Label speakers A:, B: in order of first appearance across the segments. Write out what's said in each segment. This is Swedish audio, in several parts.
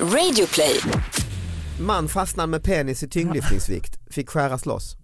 A: Radio play.
B: Man fastnar med penis i tyngdlyftningsvikt, fick skäras loss.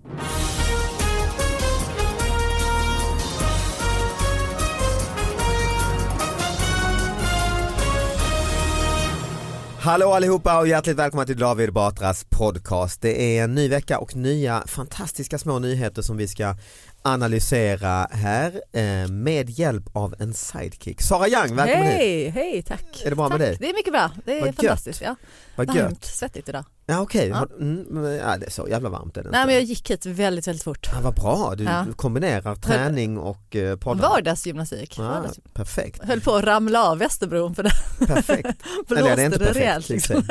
B: Hallå allihopa och hjärtligt välkomna till David Batras podcast. Det är en ny vecka och nya fantastiska små nyheter som vi ska analysera här eh, med hjälp av en sidekick. Sara Young, välkommen hit.
C: Hej, hej, tack.
B: Är det bra
C: tack.
B: med dig?
C: Det är mycket bra, det är
B: Vad gött.
C: fantastiskt. Ja.
B: Vad
C: Varmt,
B: gött.
C: svettigt idag.
B: Ja okej,
C: Ja.
B: Har- mm, men, ja, det är så jävla varmt är det inte.
C: Nej men jag gick hit väldigt, väldigt fort.
B: ja, Ah, vad bra, du
C: Ja.
B: du kombinerar träning och eh, poddar.
C: Vardagsgymnastik.
B: Ja,
C: Vardags-
B: perfekt,
C: Höll på att ramla av Västerbron för där
B: perfekt.
C: blåste
B: det är inte
C: det
B: perfekt,
C: rejält. Liksom.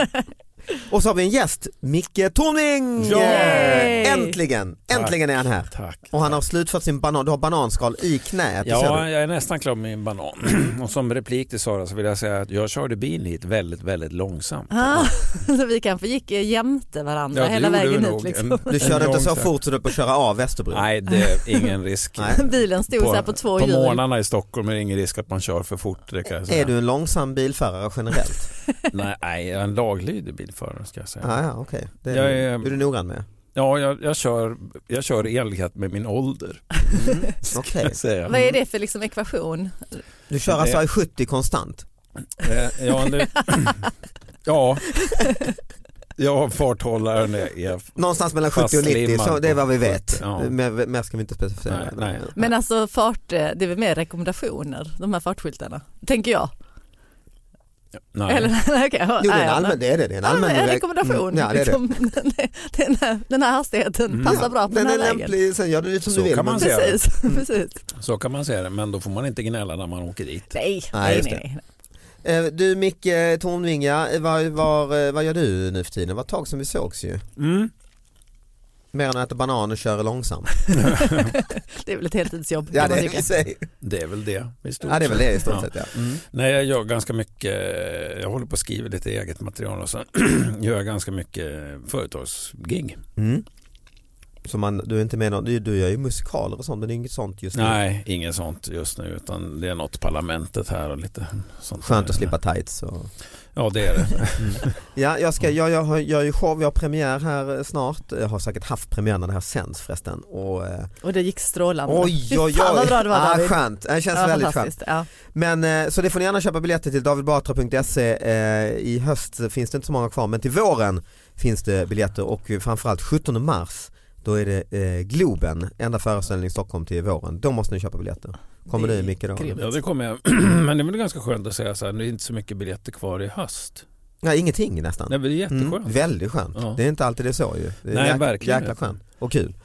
B: och så har vi en gäst, Micke Tornving!
D: Ja!
C: Yay!
B: Äntligen, äntligen är han här.
D: Tack.
B: Och han har slutfört sin banan, du har bananskal i knät. det ser
D: Ja,
B: du.
D: jag är nästan klar med min banan. Och som replik till Sara så vill jag säga att jag körde bil hit väldigt, väldigt långsamt.
C: Ah, så vi kanske gick eh, jämte varandra
D: Ja, det
C: hela
D: gjorde
C: vägen
D: vi
C: hit.
D: nog.
C: Liksom.
D: En-
B: Du
D: en
B: körde inte så
D: långsam-
B: fort så du höll på att köra av Västerbron.
D: Nej, det är ingen risk.
B: Nej.
C: Bilen stod så här på två
D: på
C: hjul.
D: morgnarna i Stockholm är det ingen risk att man kör för fort. Det kan jag säga.
B: Är du en långsam bilförare generellt?
D: Nej, nej, jag är en laglydig bilförare ska jag säga.
B: ah, ja, okej. Det är,
D: Jag
B: är...
D: är-
B: du noggrann med.
D: Ja, jag, jag kör, jag kör i enlighet med min ålder.
B: Okej.
D: kan jag säga.
C: Vad är det för liksom ekvation?
B: Du kör
D: Det-
B: alltså i 70 konstant?
D: Eh, Ja, det, ja. jag har farthållaren. Jag är
B: Någonstans mellan 70 och 90,
D: Fastlimmad
B: så det är vad vi
D: på
B: vet.
D: 70, ja.
B: Mer, mer ska vi inte specificera.
D: Nej, nej.
C: Men alltså fart, eh, det är väl mer rekommendationer, de här fartskyltarna, tänker jag.
D: Nej.
C: Eller, nej, okej.
B: Jo, det
C: Nej,
B: är en
C: ja,
B: allmän, det är det. det är en
C: Ja,
B: allmän
C: men en
B: rek-
C: rekommendation.
B: Mm, ja, det är det.
C: liksom. den, här, den här hastigheten passar bra på den,
B: Den
C: här
B: är
C: vägen.
B: lämplig, Mm. sen gör du lite som
D: Så
B: du vill.
D: kan man
B: men-
D: säga.
C: Precis, precis.
D: Så kan man säga det, men då får man inte gnälla när man åker dit.
C: Nej,
B: Nej,
C: nej,
B: just
C: nej. nej.
B: Eh, Du Micke Tornvinga, eh, vad, vad, eh, vad gör du nu för tiden? Det var ett tag som vi sågs ju.
D: Mm.
B: Mer än att äta banan och köra långsamt.
C: Det är väl ett heltidsjobb
B: Ja
C: kan
B: det
C: man
B: är, i
C: tycka.
B: sig.
D: Det är väl det i stort
B: ja, det är väl det i
D: Ja. Mm.
B: stort sett ja.
D: Nej, jag gör ganska mycket, jag håller på att skriva lite eget material och så gör jag ganska mycket företagsgig.
B: Mm. Så man, du är inte med någon, du, du gör ju musikaler och sånt men det är inget sånt just nu.
D: Nej, inget sånt just nu utan det är något parlamentet här och lite sånt.
B: Skönt
D: där.
B: att slippa tights och...
D: Ja, det är det.
B: Ja, jag,
C: Mm.
B: ska, jag, jag har- gör ju show, jag har premiär här eh, snart. Jag har säkert haft premiär när det här sänds förresten. Och, eh,
C: Och det gick strålande.
B: oj, oj, oj.
C: Fy fan vad bra det var
B: ah,
C: David.
B: Skönt, det känns
C: Ja,
B: väldigt skönt.
C: fantastiskt. Ja.
B: Men eh, så det får ni gärna köpa biljetter till davidbatra.se. Eh, I höst finns det inte så många kvar men till våren finns det biljetter och eh, framförallt 17 mars då är det eh, Globen, enda föreställning i Stockholm till våren. Då måste ni köpa biljetter. Kommer
C: Det
B: du
C: är
B: Micke då?
C: grymt.
D: Ja, det kommer jag. Men det är väl ganska skönt att säga så här, det är inte så mycket biljetter kvar i höst.
B: Ja, ingenting nästan.
D: Nej, men det är
B: Mm,
D: jätteskönt.
B: väldigt skönt.
D: Ja.
B: Det är inte alltid det är så ju. Det är
D: Nej,
B: jäk-
D: verkligen
B: Jäkla
D: inte.
B: skönt och kul.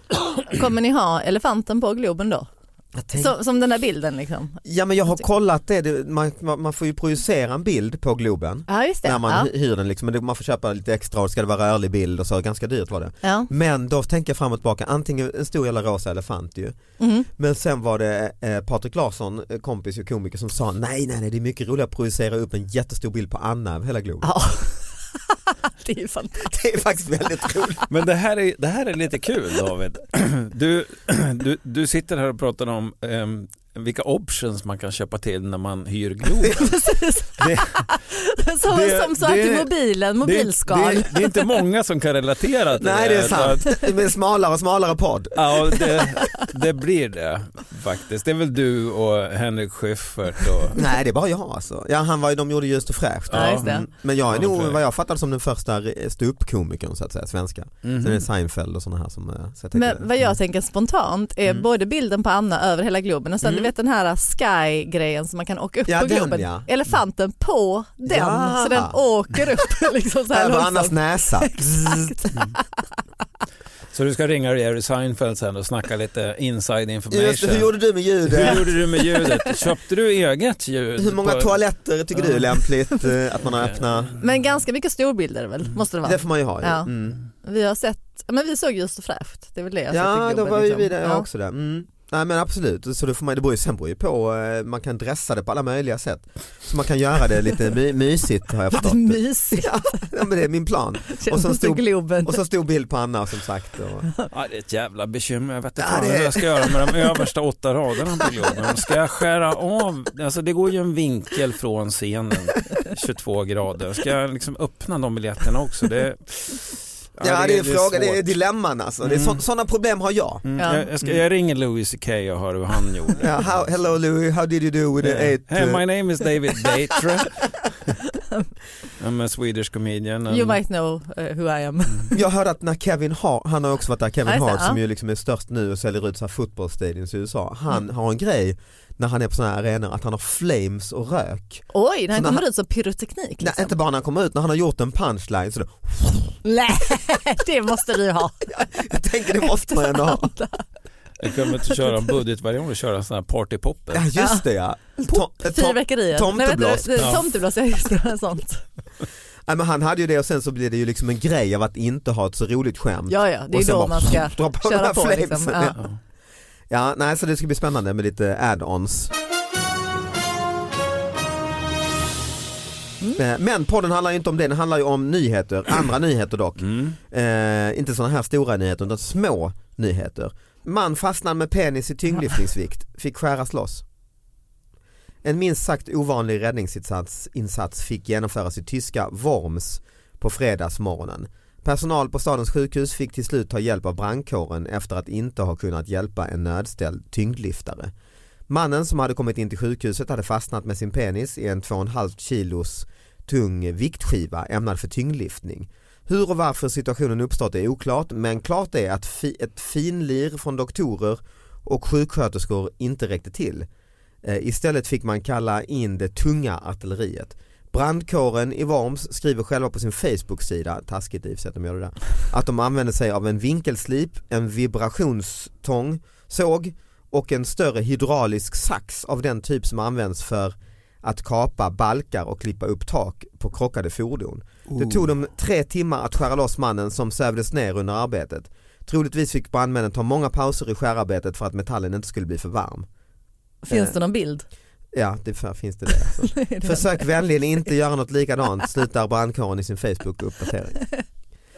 C: Kommer ni ha elefanten på Globen då?
B: Jag tänk-
C: Som, som den där bilden liksom.
B: Ja men jag har kollat det, det man, man man får ju projicera en bild på Globen
C: Ja just det.
B: när man
C: ja.
B: hy- hyr den liksom, men det- man får köpa lite extra och det ska det vara rörlig bild och så, ganska dyrt var det.
C: Ja.
B: Men då tänker jag fram och tillbaka, antingen en stor jävla rosa elefant ju,
C: Mm.
B: men sen var det eh, Patrik Larsson, eh, kompis och komiker som sa nej nej nej det är mycket roligare att projicera upp en jättestor bild på Anna över hela Globen.
C: ja. det är ju fantastiskt.
B: Det är faktiskt väldigt roligt.
D: Men det här, är, det här är lite kul David. Du, du, du sitter här och pratar om ehm, vilka options man kan köpa till när man hyr Globen.
C: Precis.
D: Det-
C: som,
D: det-
C: som sagt i
D: det-
C: mobilen, mobilskal.
D: Det, det, det är inte många som kan relatera till
B: Nej det är sant, det blir en smalare och smalare podd.
D: Ja, och det, det blir det faktiskt. Det är väl du och Henrik Schyffert och...
B: Nej det är bara jag alltså. Ja, han var ju, de gjorde Just och fräscht. Mm.
C: Ja, just det.
B: Men jag är
D: Ja,
B: nog
D: för-
B: vad jag fattar som den första ståuppkomikern så att säga, svenska.
D: Mhm.
B: Sen är det Seinfeld och sådana här som... eh, Så jag tänker-
C: Men vad jag tänker spontant är
B: Mm.
C: både bilden på Anna över hela Globen och sen du vet den här sky-grejen som man kan åka upp
B: Ja,
C: på
B: den,
C: Globen.
B: ja.
C: Elefanten på den
B: Ja.
C: så den åker upp liksom så här
B: Över
C: långsamt.
B: Annas näsa.
D: Så du ska ringa Jerry Seinfeld sen och snacka lite inside information.
B: Mm, Just, det, hur gjorde du med
D: Hur
B: ljudet?
D: gjorde du med ljudet? Köpte du eget ljud?
B: Hur många
D: på-
B: toaletter tycker du är lämpligt eh, att man har
D: Okej.
B: öppna?
C: Men ganska mycket storbilder väl, måste det vara.
B: Mm. Det får man ju ha ju.
C: Ja.
B: Mm.
C: Vi har sett, men vi såg Ljust och fräscht, det är väl det jag har sett
B: Ja, då
C: i Globen,
B: var ju
C: liksom.
B: vi där
C: Ja.
B: också där. Mm. Nej men absolut, så det, får man, det beror ju, sen beror ju på, eh, man kan dressa det på alla möjliga sätt. Så man kan göra det lite my, mysigt har jag förstått.
C: Lite mysigt,
B: Ja, men det är min plan. Och
C: känns
B: så
C: det
B: stor-
C: Globen.
B: Och så stor bild på Anna som sagt. Och...
D: Ja, det är ett jävla bekymmer. Jag vet inte
B: Ja,
D: fan
B: det-
D: hur jag ska göra med de översta åtta raderna på Globen. Ska jag skära av? Alltså, det går ju en vinkel från scenen, 22 grader. Ska jag liksom öppna de biljetterna också? Det,
B: Ja det är frågan, det är
D: svårt.
B: dilemman alltså. Det är så,
D: Mm.
B: sådana problem har jag.
D: Mm,
C: Ja.
D: jag, jag, ska, jag ringer Louis CK och hör hur han gjorde.
B: Ja, how, hello Louis, how did you do with the eight?
D: Hey,
B: uh,
D: my name is David Batra. I'm a Swedish comedian. and-
C: You might know eh, who I am.
B: Jag hörde att när Kevin Hart, han har också varit där,
C: Ja,
B: Kevin
C: just det,
B: Hart
C: ja.
B: som ju liksom är störst nu och säljer ut så här fotbollsstadions i USA. Han
C: Mm.
B: har en grej när han är på sådana här arenor att han har flames och rök.
C: Oj, när han
B: Så när
C: kommer
B: han-
C: ut som pyroteknik
B: Nej,
C: liksom.
B: inte bara när han kommer ut, när han har gjort en punchline så då,
C: Nej, det måste du ju ha.
B: jag tänker det måste man ändå ha.
D: Jag kommer inte köra en budgetvariant och köra sån här partypopper.
B: Ja just det ja. Tom, eh, Tom,
C: Fyrverkerier.
B: tomteblås.
C: Nej, vet du,
D: Ja.
C: Tomteblås, ja just det. Sånt.
B: nej, men han hade ju det och sen så blir det ju liksom en grej av att inte ha ett så roligt skämt.
C: Ja, ja, det är
B: Och sen
C: då
B: bara-
C: man ska
B: Dra på de
C: köra
B: här
C: på.
B: flamesen.
C: Liksom.
B: Ja.
C: Ja.
D: Ja.
B: Ja, nej, så det ska bli spännande med lite add-ons.
C: Mm.
B: Eh, Men podden handlar ju inte om det, den handlar ju om nyheter, andra nyheter dock.
D: Mm.
B: Eh, inte sådana här stora nyheter utan små nyheter. Man fastnade med penis i tyngdlyftningsvikt, fick skäras loss. En minst sagt ovanlig räddningsinsats insats fick genomföras i tyska Worms på fredagsmorgonen. Personal på stadens sjukhus fick till slut ta hjälp av brandkåren efter att inte ha kunnat hjälpa en nödställd tyngdlyftare. Mannen som hade kommit in till sjukhuset hade fastnat med sin penis i en 2,5 kilos tung viktskiva ämnad för tyngdlyftning. Hur och varför situationen uppstått är oklart men klart är att fi- ett finlir från doktorer och sjuksköterskor inte räckte till. Eh, Istället fick man kalla in det tunga artilleriet. Brandkåren i Worms skriver själva på sin Facebook-sida, taskigt i och för sig att de gör det där, att de använde sig av en vinkelslip, en vibrationstång, såg och en större hydraulisk sax av den typ som används för att kapa balkar och klippa upp tak på krockade fordon. Det tog dem tre timmar att skära loss mannen som sövdes ner under arbetet. Troligtvis fick brandmännen ta många pauser i skärarbetet för att metallen inte skulle bli för varm.
C: Finns det någon bild?
B: Ja, det för- finns det det. Alltså.
C: Nej, det-
B: Försök vänligen inte göra något likadant, slutar brandkåren i sin Facebook-uppdatering.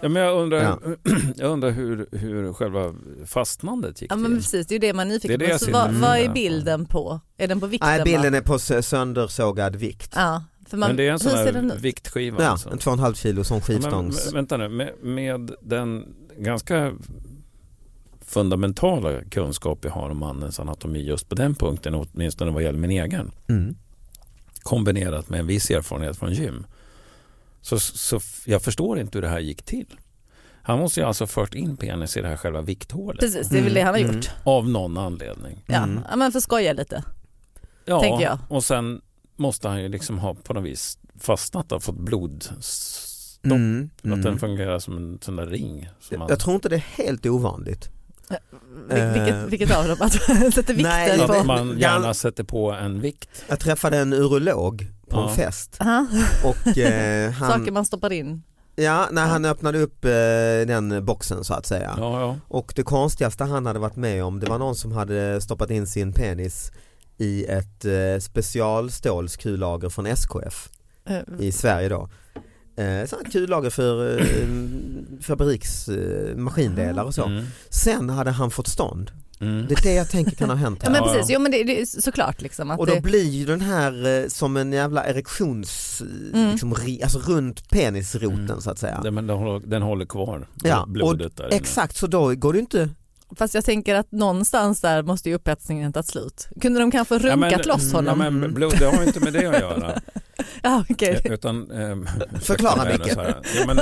D: Ja, men jag undrar,
B: Ja.
D: jag undrar hur, hur själva fastnandet gick
C: Ja men
D: till.
C: precis, det är ju det man är nyfiken
D: Det
C: på.
D: är det jag
C: så
D: ser
C: vad,
D: nu.
C: vad är
D: Mm.
C: bilden på? Är den på vikten?
B: Nej, bilden
C: va?
B: är på sö- söndersågad vikt.
C: Ja, för man,
D: men det är en sån
C: hur ser den
D: här
C: ut?
D: viktskiva.
B: Ja,
D: alltså.
B: en 2,5 kilo sån
D: Ja, men,
B: skivstångs.
D: men- vänta nu, med, med den ganska fundamentala kunskap jag har om mannens anatomi just på den punkten, åtminstone vad gäller min egen,
B: Mm.
D: kombinerat med en viss erfarenhet från gym. Så, så f- jag förstår inte hur det här gick till. Han måste ju alltså ha fört in penis i det här själva vikthålet
C: Precis, det är väl det han har
B: Mm.
C: gjort.
D: av någon anledning.
C: Ja.
B: Mm.
C: ja men för skoja lite.
D: Ja,
C: Tänker jag.
D: och sen måste han ju liksom ha på något vis fastnat och fått blodstopp.
B: Mm.
D: Att
B: Mm.
D: den fungerar som en sån där ring. Som man...
B: Jag tror inte det är helt ovanligt.
C: Vil-
B: Eh,
C: Vilket, vilket av dem? Att sätter
B: nej,
C: vikten
D: Att
C: på...
D: man gärna sätter på en vikt.
B: Jag träffade en urolog på
D: Ja.
B: en fest
C: Aha.
B: och eh,
C: Saker
B: han,
C: man stoppar in.
B: ja, när han öppnade upp eh, den boxen så att säga.
D: Ja, ja.
B: Och det konstigaste han hade varit med om det var någon som hade stoppat in sin penis i ett eh, specialstålskullager från SKF
C: Eh,
B: i Sverige då. Eh, sådana kullager för eh, fabriks eh, maskindelar och så.
D: Mm.
B: Sen hade han fått stånd.
D: Mm.
B: Det är det jag tänker kan ha hänt.
C: Ja,
B: här.
C: men
D: Ja, ja.
C: precis, jo, men det, det är såklart liksom att
B: Och då
C: det,
B: blir ju den här eh, som en jävla erektions, mm.
C: Mm.
B: liksom, ri- alltså runt penisroten
D: Mm.
B: så att säga.
D: Den, men den, håller, den håller kvar
B: Ja,
D: blodet där inne.
B: Exakt, så då går det ju inte,
C: Fast jag tänker att någonstans där måste ju upphetsningen ta slut. Kunde de kanske runkat loss honom?
D: Mm. Ja, men blod, det har ju inte med det att göra.
C: Ja, okej.
D: Utan, ehm,
B: Förklara,
D: mig nu
B: Micke.
D: så här. Jo, men,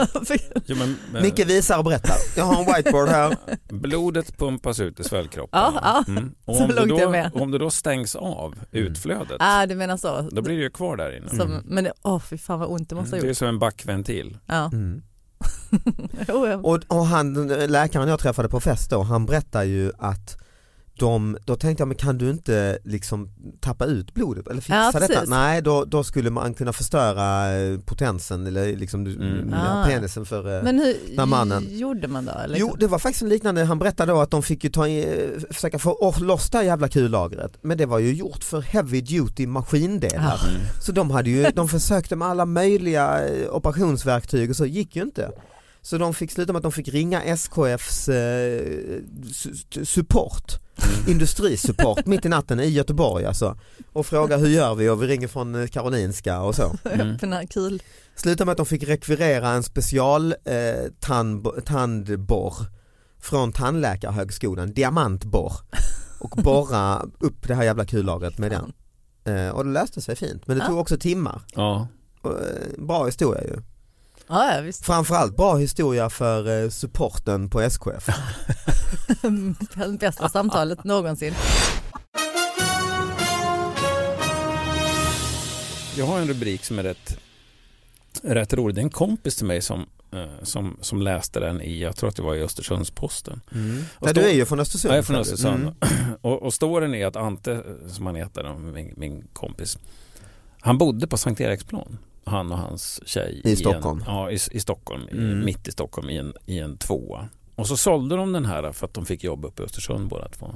D: jo, men, eh,
B: Micke visar och berättar. Jag har en whiteboard här.
D: Blodet pumpas ut i svällkroppen.
C: Ja,
D: Mm. Och
C: Så
D: om, det
C: långt är jag
D: då,
C: med.
D: om det då stängs av utflödet,
C: ah, du menar så.
D: då blir det ju kvar där inne.
C: Som,
B: Mm.
C: Men det- åh fy fan vad ont det måste ha
D: Mm, Det är
C: gjort.
D: som en backventil.
C: Ja.
B: Mm.
C: Jo, ja.
B: Och, och han, läkaren jag träffade på fest då, han berättar ju att de, då tänkte jag, men kan du inte liksom tappa ut blodet eller fixa
C: Ja,
B: detta?
C: precis.
B: Nej, då, då skulle man kunna förstöra eh, potensen eller liksom du-
D: Mm.
B: ja,
C: Ah.
B: penisen för eh,
C: Men hur
B: när mannen-
C: gjorde man då? Liksom?
B: Jo det var faktiskt en liknande, han berättade då att de fick ju ta i, försöka få oh, loss det här jävla kullagret men det var ju gjort för heavy duty maskindelar
C: Ah.
B: så de, hade ju, de försökte med alla möjliga eh, operationsverktyg och så gick ju inte. Så de fick sluta med att de fick ringa SKFs eh, su- su- support, industrisupport mitt i natten i Göteborg alltså och fråga hur gör vi och vi ringer från eh, Karolinska och så.
D: Mm.
C: Öppna kul.
B: Slutade med att de fick rekvirera en special eh, tandb- tandborr från tandläkarhögskolan, diamantborr och borra upp det här jävla kullagret med den. Eh, och det löste sig fint men det
C: Ja.
B: tog också timmar.
D: Ja.
B: Och, eh, Bra historia ju.
C: Ja, ja visst.
B: Framförallt bra historia för eh, supporten på SKF.
C: Bästa samtalet någonsin.
D: Jag har en rubrik som är rätt, rätt rolig. Det är en kompis till mig som, eh, som, som läste den i, jag tror att det var i Östersunds-Posten.
B: Nej, du är ju från Östersund.
D: Mm. Jag är från
B: sa du.
D: Östersund.
B: Mm.
D: Och, och storyn är att Ante, som han heter, då, min, min kompis, han bodde på Sankt Eriksplan. Han och hans tjej.
B: I Stockholm.
D: En, ja, i, i Stockholm. i-
B: Mm.
D: Mitt i Stockholm i en, i en tvåa. Och så sålde de den här för att de fick jobb uppe i Östersund båda två.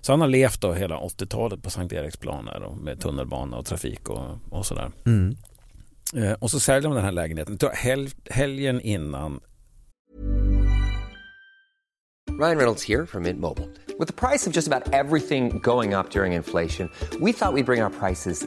D: Så han har levt då hela 80-talet på Sankt Eriksplan här då, med tunnelbana och trafik och, och sådär.
B: Mm.
D: Eh, och så säljer de den här lägenheten. Jag tror Hel, helgen innan
A: Ryan Reynolds here from Mint Mobile. With the price of just about everything going up during inflation, we thought we'd bring our prices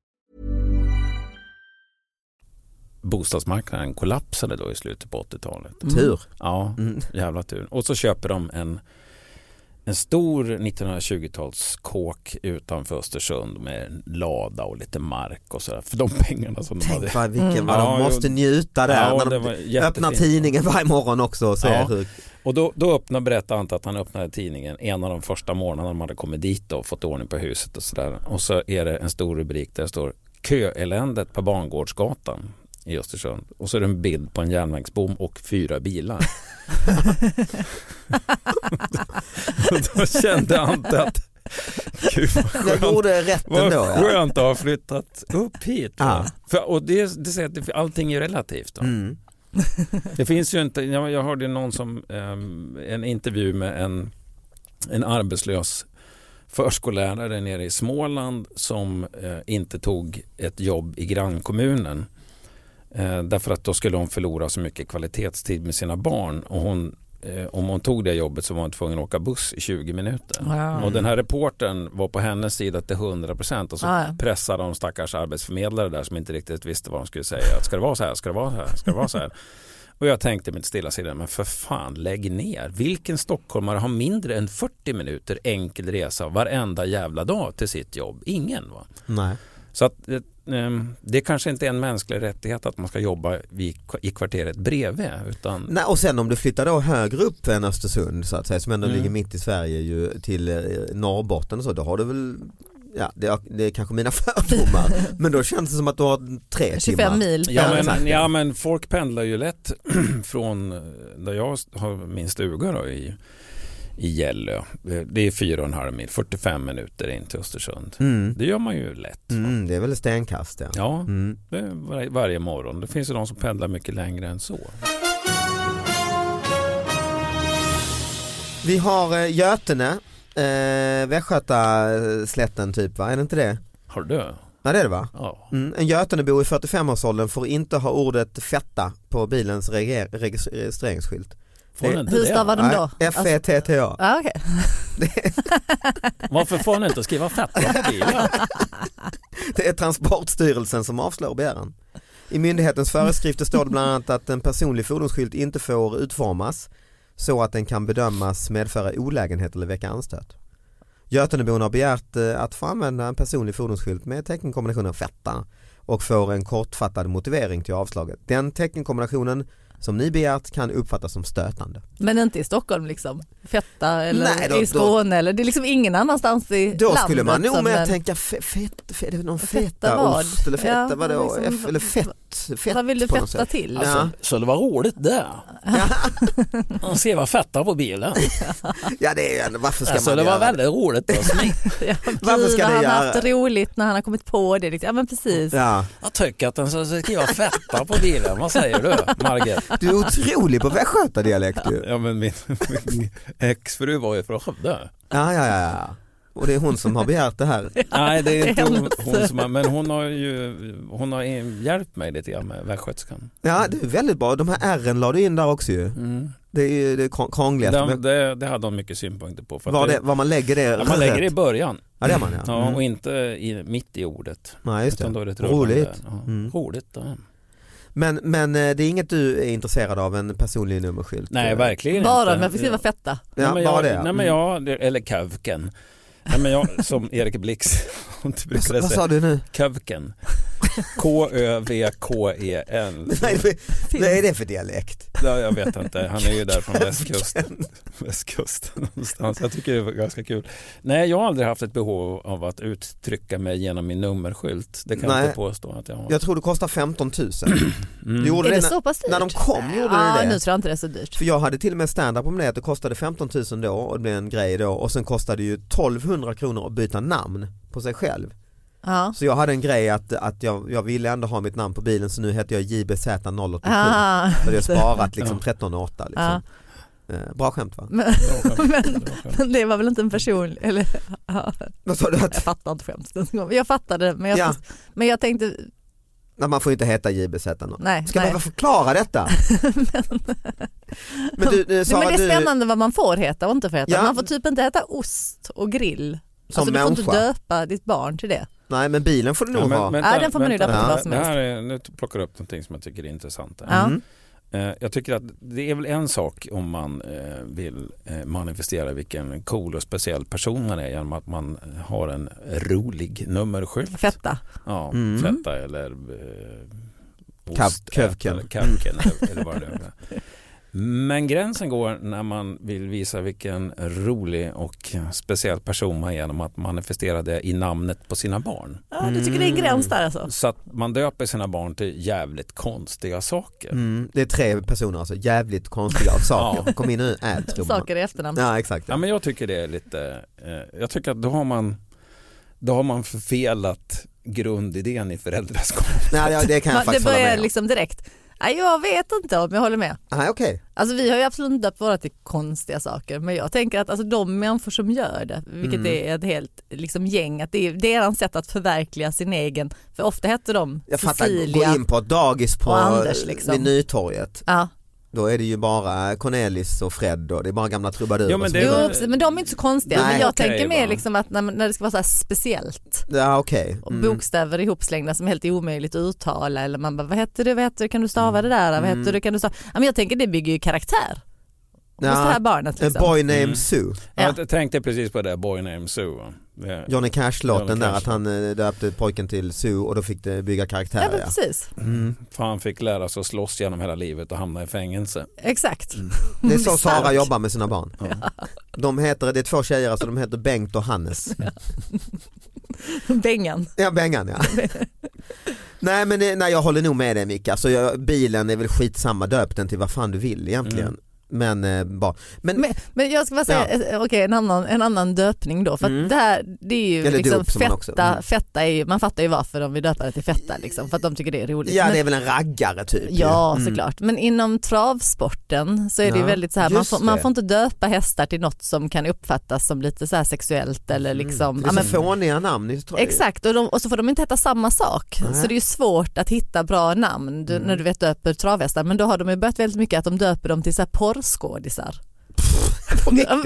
D: bostadsmarknaden kollapsade då i slutet på 80-talet.
B: Tur. Mm.
D: Ja, jävla tur. Och så köper de en, en stor 1920-talskåk utanför Östersund med en lada och lite mark och sådär. För de pengarna som de hade.
B: Tänk vad, vilken, vad
D: Mm. Ja,
B: de
D: jo.
B: måste njuta där
D: Ja, det
B: när
D: var
B: de
D: jättefint.
B: öppnar tidningen varje morgon också och ser
D: Ja.
B: hur
D: Och då, då öppnar, berättar Ante att han öppnade tidningen en av de första morgnarna de hade kommit dit då och fått ordning på huset och sådär. Och så är det en stor rubrik där det står Köeländet på Bangårdsgatan i Östersund. Och så är det en bild på en järnvägsbom och fyra bilar. och då kände Ante att Gud vad
B: jag
D: skönt,
B: gjorde rätt
D: vad
B: ändå. Ja.
D: skönt att ha flyttat upp hit. va?
B: Ja.
D: För, och det, det säger att det- allting är relativt. Då.
B: Mm.
D: Det finns ju inte, jag, jag hörde någon som, ehm, en intervju med en, en arbetslös förskollärare nere i Småland som eh, inte tog ett jobb i grannkommunen. Eh, därför att då skulle hon förlora så mycket kvalitetstid med sina barn. Och hon, eh, om hon tog det jobbet så var hon tvungen att åka buss i 20 minuter.
C: Wow.
D: Och den här reportern var på hennes sida till 100% och så
C: Ah, ja.
D: pressade de stackars arbetsförmedlare där som inte riktigt visste vad de skulle säga. Att, ska det vara så här? Ska det vara så här? Ska det vara så här? Och jag tänkte mitt stilla sinne, men för fan lägg ner. Vilken stockholmare har mindre än 40 minuter enkel resa varenda jävla dag till sitt jobb? Ingen va?
B: Nej.
D: Så att, eh, ehm, det kanske inte är en mänsklig rättighet att man ska jobba i, i kvarteret bredvid. Utan,
B: Nej, och sen om du flyttar då högre upp än Östersund så att säga, som ändå
D: Mm.
B: ligger mitt i Sverige ju till eh, Norrbotten och så, då har du väl Ja, det är, det är kanske mina fördomar, men då känns det som att du har tre
C: 25
B: timmar.
C: mil. Alltså,
B: Ja,
D: Ja
B: exakt.
D: men, ja men folk pendlar ju lätt från eh, där jag har min stuga då i, i Gällö. Eh, Det är fyra och en halv mil, 45 minuter in till Östersund.
B: Mm.
D: Det gör man ju lätt.
B: Mm, det är väl stenkast ja.
D: Ja,
B: Mm.
D: det är var, varje morgon. Det finns ju de som pendlar mycket längre än så.
B: Vi har eh, Götene, eh, Västgötaslätten typ va, är det inte det?
D: Har du?
B: Ja det är det va?
D: Ja.
B: Mm. En Götenebo i 45-årsåldern får inte ha ordet fetta på bilens reger- regis- registreringsskylt.
D: Får
B: Det-
D: den inte
C: Hur
D: det?
C: stavar de då?
B: Nej, E
C: Alltså,
B: F-E-T-T-A.
C: ja, okej.
D: Varför får han inte skriva fetta på bilen?
B: Det är Transportstyrelsen som avslår begäran. I myndighetens föreskrifter står det bland annat att en personlig fordonsskylt inte får utformas så att den kan bedömas medföra olägenhet eller väcka anstöt. Götenebon har begärt eh, att få använda en personlig fordonsskylt med teckenkombinationen fetta och får en kortfattad motivering till avslaget. Den teckenkombinationen som ni begärt kan uppfattas som stötande.
C: Men inte i Stockholm liksom? Fetta eller
B: Nej, då- då-
C: i Skåne eller det är liksom ingen annanstans i
B: Då
C: landet.
B: skulle man nog
C: som
B: mer
C: den-
B: tänka fe- fett, fe- är det någon
C: Fetta
B: feta
C: vad?
B: ost eller feta
C: Ja,
B: vadå?
C: liksom-
B: F- eller fett, fett
C: Vad vill du
B: på något
C: fetta
B: sätt. Alltså,
C: till?
B: Ja.
D: Så det var roligt det. Han skriver fetta på bilen.
B: Ja det är ju ändå, varför ska
D: Alltså,
B: man göra
D: roligt.
C: Ja,
B: Varför
C: gud,
B: ska det
C: han
B: göra-
C: har haft roligt när han har kommit på det. liksom. Ja men precis.
B: Ja.
D: Jag tycker att den ska skriva fetta på bilen. Vad säger du, Margit?
B: Du är otrolig på västgötadialekt ju.
D: Ja, men min, min exfru var ju från Skövde.
B: Ja, ja, ja, ja. Och det är hon som har begärt det här.
D: Nej, det är inte hon,
C: hemskt.
D: hon som har, men hon har ju hon har hjälpt mig lite grann med västgötskan.
B: Ja, det är väldigt bra. De här ärren la du in där också ju.
D: Mm.
B: Det är ju det krång- krångligaste.
D: Det,
B: Men
D: det, det hade hon mycket synpunkter på. För att
B: Var,
D: det-
B: det, var man lägger det
D: ja, man lägger det i
B: rätt.
D: början
B: Ja, det gör man ja.
D: ja, och
B: Mm.
D: inte i, mitt i ordet.
B: Nej, just
D: Utan då
B: det.
D: är det ett rullande.
B: Roligt.
D: Ja.
B: Mm.
D: Roligt. Ja.
B: Men, men eh, det är inget du är intresserad av, en personlig nummerskylt?
D: Nej,
B: Eh,
D: verkligen
C: Bara
D: inte.
C: om jag får skriva fetta.
B: Ja,
D: nej, men
B: bara
D: jag,
B: det. ja. Mm.
D: Nej, men jag, eller kövken. Nej, men jag, som Erik Blix inte
B: Mm.
D: brukade
B: Vad, vad
D: säga.
B: sa du nu?
D: Kövken. K-Ö-V-K-E-N.
B: Nej, det- vad är det för dialekt?
D: Ja, jag vet inte, han är ju där från västkusten. västkusten någonstans. Jag tycker det var ganska kul. Nej, jag har aldrig haft ett behov av att uttrycka mig genom min nummerskylt. Det kan jag
B: Nej.
D: inte påstå att jag har.
B: Jag tror det kostar 15 000.
D: Mm.
B: Du gjorde
C: Är det
B: när-
C: så pass dyrt?
B: När de kom gjorde
C: ja,
B: du det.
C: nu tror jag inte det är så dyrt.
B: För jag hade till och med stand-up om det att det kostade 15 000 då och det blev en grej då och sen kostade det ju 1200 kronor att byta namn på sig själv.
C: Ja.
B: Så jag hade en grej att, att jag, jag ville ändå ha mitt namn på bilen så nu heter jag JBZ087.
C: Ah.
B: Så hade jag sparat liksom
D: Ja.
B: 1308 liksom. Eh, Bra skämt va?
C: Men,
D: Bra skämt,
C: men
D: bra skämt.
C: det var väl inte en personlig... Eller, ja,
B: Vad sa du?
C: jag
B: Att,
C: fattar inte skämtet. Jag fattade det men jag,
B: Ja.
C: men jag tänkte...
B: nej, man får inte heta JBZ0.
C: Nej,
B: Ska jag
C: nej.
B: behöva förklara detta? men, du, eh,
C: Nej,
B: Sara,
C: men det är
B: du
C: spännande vad man får heta och inte får heta.
B: Ja.
C: Man får typ inte heta ost och grill.
B: som
C: alltså, du får inte
B: människa.
C: döpa ditt barn till det.
B: Nej men bilen får du nog ha.
C: Ja, den får man ju
D: vänta,
C: lappa
B: på vad
D: vänta.
C: som
D: Det här är, nu plockar jag upp någonting som jag tycker är intressant. här.
C: Ja.
B: Mm.
D: Eh, Jag tycker att det är väl en sak om man eh, vill eh, manifestera vilken cool och speciell person man är genom att man har en rolig nummerskylt.
C: Fetta.
D: Ja,
B: Mm.
D: feta eller eh,
B: Kav-
D: ost,
B: kövken.
D: eller kavken eller, eller vad det är. Men gränsen går när man vill visa vilken rolig och speciell person man är genom att manifestera det i namnet på sina barn.
C: Ja, du tycker det är
B: Mm.
C: en gräns där alltså?
D: Så att man döper sina barn till jävligt konstiga saker.
B: Mm, det är tre personer alltså, jävligt konstiga saker. Kom in nu, ät tror man.
C: Saker i efternamn.
B: Ja exakt.
D: Ja, men jag tycker det är lite, eh, jag tycker att då har man, då har man förfelat grundidén i föräldraskap.
B: Nej, ja, det kan jag
C: Man, det
B: faktiskt hålla
C: börjar
B: med om.
C: liksom direkt. Nej, jag vet inte om jag håller med.
B: Nej, okej.
C: Alltså vi har ju absolut inte döpt våra till konstiga saker men jag tänker att alltså, de människor som gör det, vilket
B: Mm.
C: är ett helt liksom, gäng, att det är deras sätt att förverkliga sin egen, för ofta hette de
B: Jag fattar,
C: Cecilia.
B: gå in på ett dagis på,
C: och Anders, liksom.
B: vid Nytorget.
C: Ja.
B: Då är det ju bara Cornelis och Fred och det är bara gamla trubadurer.
D: Ja, men
B: som
D: det är
C: Jo,
B: gör
D: väl-
C: precis, men de är inte så konstiga.
B: Nej,
C: men jag
D: okej,
C: tänker mer
D: va.
C: liksom att när, när det ska vara så här speciellt
B: Ja okej.
C: och
B: Mm.
C: bokstäver ihopslängda som är helt omöjligt att uttala eller man bara vad heter det, vad heter det, kan du stava det där, vad heter det, kan du stava? Ja, men jag tänker det bygger ju karaktär hos
B: Mm. Ja,
C: det här barnet.
B: A
C: Liksom.
B: boy named
D: Mm.
B: Sue.
C: Ja.
D: Jag tänkte precis på det, Boy Named Sue. va? Eh, Det-
B: Johnny Cash-låten
D: Johnny
B: där
D: Cash.
B: att han eh, döpte pojken till Sue och då fick det bygga
C: Ja,
B: karaktärer.
C: men
B: Ja,
C: precis,
B: Mm.
D: För han fick lära sig att slåss genom hela livet och hamna i fängelse.
C: exakt.
B: Det är så
C: Stark.
B: Sara jobbar med sina barn. De heter, det är två tjejer alltså, de heter Bengt och Hannes.
C: Bengan.
B: Ja, Bengan ja. nej men det, nej, jag håller nog med dig Micke, alltså, jag, bilen är väl skitsamma, döp den till vad fan du vill egentligen.
D: Mm.
B: Men, eh, bara, men,
C: Men, men jag ska bara säga, eh, okej en, annan, en annan döpning då, för att
B: Mm.
C: det här det är ju
B: Eller
C: liksom
B: dop som man också-
C: fetta,
B: mm.
C: fetta är ju, man fattar ju varför de vill döpa det till fetta liksom, för att de tycker det är roligt.
B: ja
C: Men-
B: det är väl en raggare typ. ju.
C: Ja
B: Mm.
C: såklart, men inom travsporten så är det ju
B: Ja,
C: väldigt så här, man
B: just
C: får, man
B: det.
C: får inte döpa hästar till något som kan uppfattas som lite så här sexuellt eller liksom,
B: Mm. Det
C: ja,
B: är så
C: men,
B: fåniga namn. det tror jag.
C: exakt och, de, och så får de inte heta samma sak.
B: Nej. Mm.
C: Så det är ju svårt att hitta bra namn du, när du vet döper travhästar, men då har de ju börjat väldigt mycket att de döper dem till så här porrskådisar.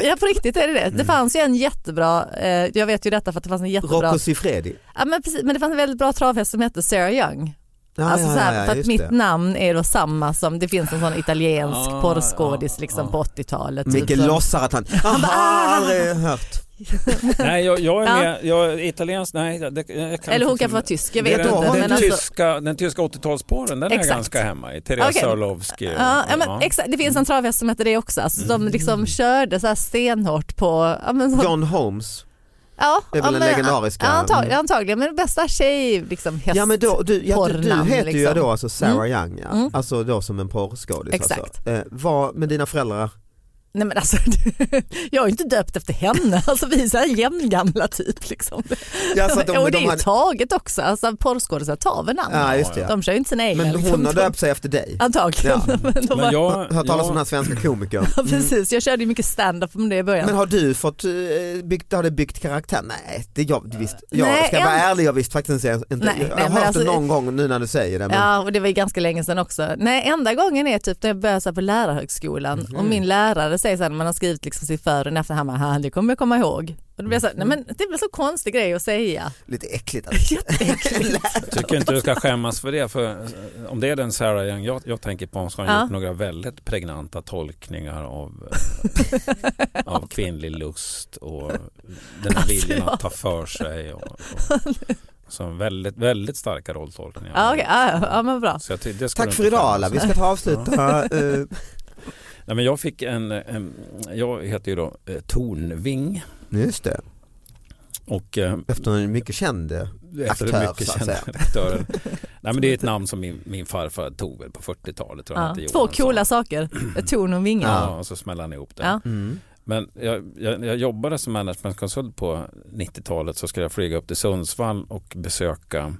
C: Ja på riktigt är det det.
B: Mm.
C: Det fanns ju en jättebra, eh, jag vet ju detta för att det fanns en jättebra,
B: Rocco Siffredi.
C: ja, men, precis, men det fanns en väldigt bra travhäst som hette Sarah Young
B: Ja,
C: alltså
B: ja,
C: så
B: ja,
C: här,
B: ja,
C: för att
B: just
C: mitt
B: det.
C: namn är då samma som, det finns en sån italiensk
D: Ah,
C: porrskådis
D: ja,
C: liksom
D: ja.
C: på 80-talet.
B: ah. Micke
C: typ.
B: låtsar att han, han bara, "Ah, aldrig hört.
D: Nej, jag, jag är
C: Ja.
D: med. Jag, italiensk, nej. Det, jag kan
C: Eller hon kan
D: faktiskt
C: vara tysk, jag
D: Det är
C: vet
D: den,
C: inte.
D: den,
C: Men alltså,
D: tyska, den tyska 80-talsporren, den är
C: Exakt.
D: ganska hemma i. Therese
C: Okej.
D: Orlovsky. och-
C: ja, ja, men
D: ja.
C: exakt, det
B: Mm.
C: finns en travhäst som heter det också, alltså, de liksom körde så här stenhårt på... Ja, men så,
B: John Holmes.
C: ja,
B: det är väl
C: ja,
B: den
C: men-
B: legendariska.
C: Ja, antag,
B: Mm.
C: antagligen, men bästa tjej, liksom, häst.
B: Ja men då, du, ja, du, du
C: porrnamn,
B: heter ju
C: liksom.
B: då alltså Sarah Young ja.
C: Mm.
B: Alltså då som en porrskådis.
C: Exakt.
B: Alltså. Eh, vad, men dina föräldrar?
C: Nej, men alltså, jag är ju inte döpt efter henne, alltså, vi är så här jämngamla typ. Liksom.
B: Ja, så att
C: och det är ju taget också, alltså, porrskådisar tar väl namn?
B: ja just det. Ja.
C: De kör ju inte sina egna.
B: Men
C: liksom.
B: hon har
C: De-
B: döpt sig efter dig.
C: Antagligen.
B: Ja.
C: Men de
D: Men
C: har-
D: jag,
B: Hört talas om den här
D: jag,
B: svenska komikern.
C: Ja, precis, jag körde ju mycket stand-up om det i början.
B: Men har du fått, eh, byggt, har det byggt karaktär? Nej, det jag, visst, jag
C: Nej,
B: ska vara
C: jag-
B: ärlig, jag visste faktiskt inte. jag
C: Nej,
B: har
C: nej, men
B: hört
C: alltså-
B: det någon gång nu när du säger det. Men,
C: Ja och det var ju ganska länge sedan också. Nej enda gången är typ när jag började så här på lärarhögskolan och min lärare säger så här när man har skrivit liksom sitt för och efter, han bara, "Ha, det kommer jag komma ihåg. Och då blir jag så här, nej men det blir så konstig grej att säga.
B: Lite äckligt. Alltså.
D: tycker inte du ska skämmas för det. För eh, om det är den Sarah Young jag, jag tänker på så har hon
C: Ja.
D: gjort några väldigt pregnanta tolkningar av, eh, av kvinnlig lust och den här viljan att ta för sig. Och, och, så väldigt, väldigt starka rolltolkningar.
C: Ja okej, ja, ja, ja men bra.
D: Så jag ty- det ska
B: Tack
D: du
B: för
D: inte
B: idag
D: skämmas
B: alla, vi
D: för.
B: ska ta avsluta. eh,
D: Nej, men jag fick en, en, jag heter ju då eh, Tornving
B: just det,
D: och eh,
B: efter en mycket känd. eh,
D: efter
B: Aktör,
D: mycket
B: så att
D: kända
B: säga.
D: redaktörer. Nej men det är ett namn som min, min farfar tog väl på 40-talet. tror jag,
C: Ja.
D: inte
C: Två
D: Johansson.
C: coola saker, ett torn och vingar.
D: Ja, och så smällde han ihop det.
C: Ja.
B: Mm.
D: Men jag, jag, jag jobbade som managementkonsult på 90-talet så skulle jag flyga upp till Sundsvall och besöka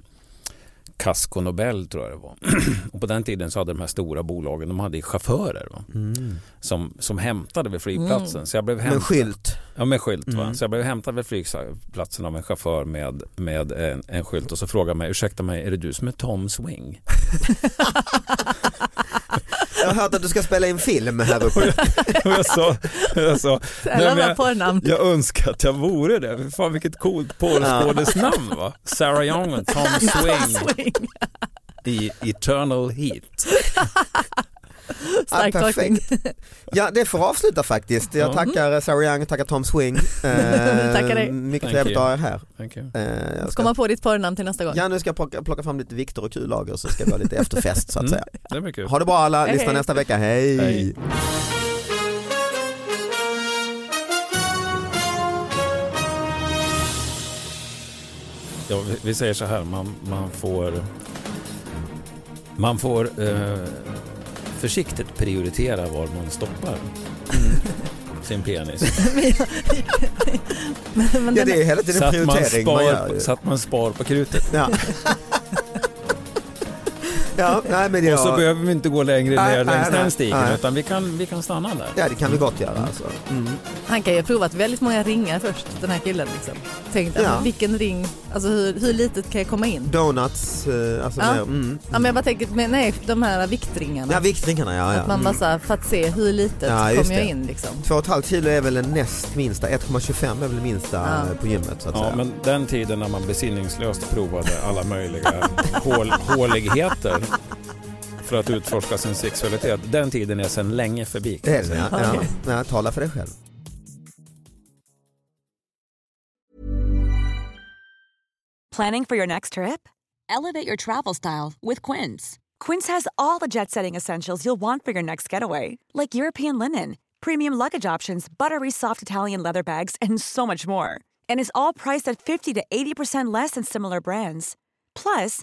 D: Casco Nobel tror jag det var. och på den tiden så hade de här stora bolagen, de hade ju chaufförer va? Som, som hämtade vid flygplatsen. Så jag blev
B: mm, Men
D: hämtad.
B: skylt.
D: Ja med skylt va.
B: Mm.
D: Så jag blev hämtad vid flygplatsen av en chaufför med, med en, en skylt och så frågade han mig, ursäkta mig, är det du som är Tom Swing?
B: Jag har hört att du ska spela in film här uppe.
D: och jag sa, jag sa
C: Eller
D: men
C: bara
D: jag-
C: porrnamn.
D: jag önskar att jag vore det. Fy Fan vilket coolt porrskådesnamn va. Sarah Young och Tom Swing
C: Swing.
D: i Eternal Heat.
C: Stark
B: Ja,
C: tolkning.
B: perfekt. Ja det får avsluta faktiskt. Jag
D: Ja.
B: tackar Sarah Young, tackar Tom Swing. Eh,
C: Tackar dig.
B: Mycket
D: Thank
B: trevligt att
D: you.
B: ha er här.
D: Thank you.
B: Eh, jag
C: Ska
B: ska,
C: man på ditt porrnamn till nästa gång?
B: ja nu ska jag plocka, plocka fram lite Viktor och Q-lager så ska vi ha lite efterfest så att
D: Mm.
B: säga.
D: Det är mycket kul.
B: Ha det bra alla,
C: Hej,
B: lyssna
C: hej.
B: nästa vecka, hej.
D: Hej. Ja, vi- vi säger så här, man, man får, man får eh, försiktigt prioritera var man stoppar
B: Mm.
D: sin penis.
C: Men
B: Ja,
C: den-
B: det är hela tiden
D: Så att, man
B: prioritering man, gör
D: spar,
B: ju.
D: så att man spar på krutet.
B: Ja. Ja, nej, men det
D: Och så
B: var-
D: behöver vi inte gå längre
B: Nej,
D: ner längs
B: nej, nej,
D: den stigen
B: nej.
D: utan vi kan, vi kan stanna där.
B: Ja det kan vi gott göra alltså.
C: Han kan ju ha provat väldigt många ringar först, den här killen. Liksom. Tänkt,
B: Ja.
C: alltså, vilken ring, alltså hur, hur litet kan jag komma in?
B: Donuts, eh, alltså
C: Ja.
B: mer, mm.
C: Ja, men jag bara tänker, men nej, de här viktringarna.
B: Ja viktringarna ja. ja. Mm.
C: Att man bara så här, för att se hur litet
B: Ja, just
C: kommer jag
B: det.
C: in liksom.
B: Två och ett halvt kilo är väl den näst minsta, 1,25 är väl det minsta
C: Ja.
B: eh, på gymmet så att
D: Ja,
B: säga.
D: men den tiden när man besinningslöst provade alla möjliga hål, håligheter för att utforska sin sexualitet, den tiden är sedan länge förbi. kan
B: Det
D: jag
B: är det,
D: säga.
B: ja. ja.
C: Okej.
B: ja. Tala för dig själv.
E: Planning for your next trip? Elevate your travel style with Quince. Quince has all the jet setting essentials you'll want for your next getaway, like European linen, premium luggage options, buttery soft Italian leather bags, and so much more. And is all priced at 50 to 80% less than similar brands. Plus,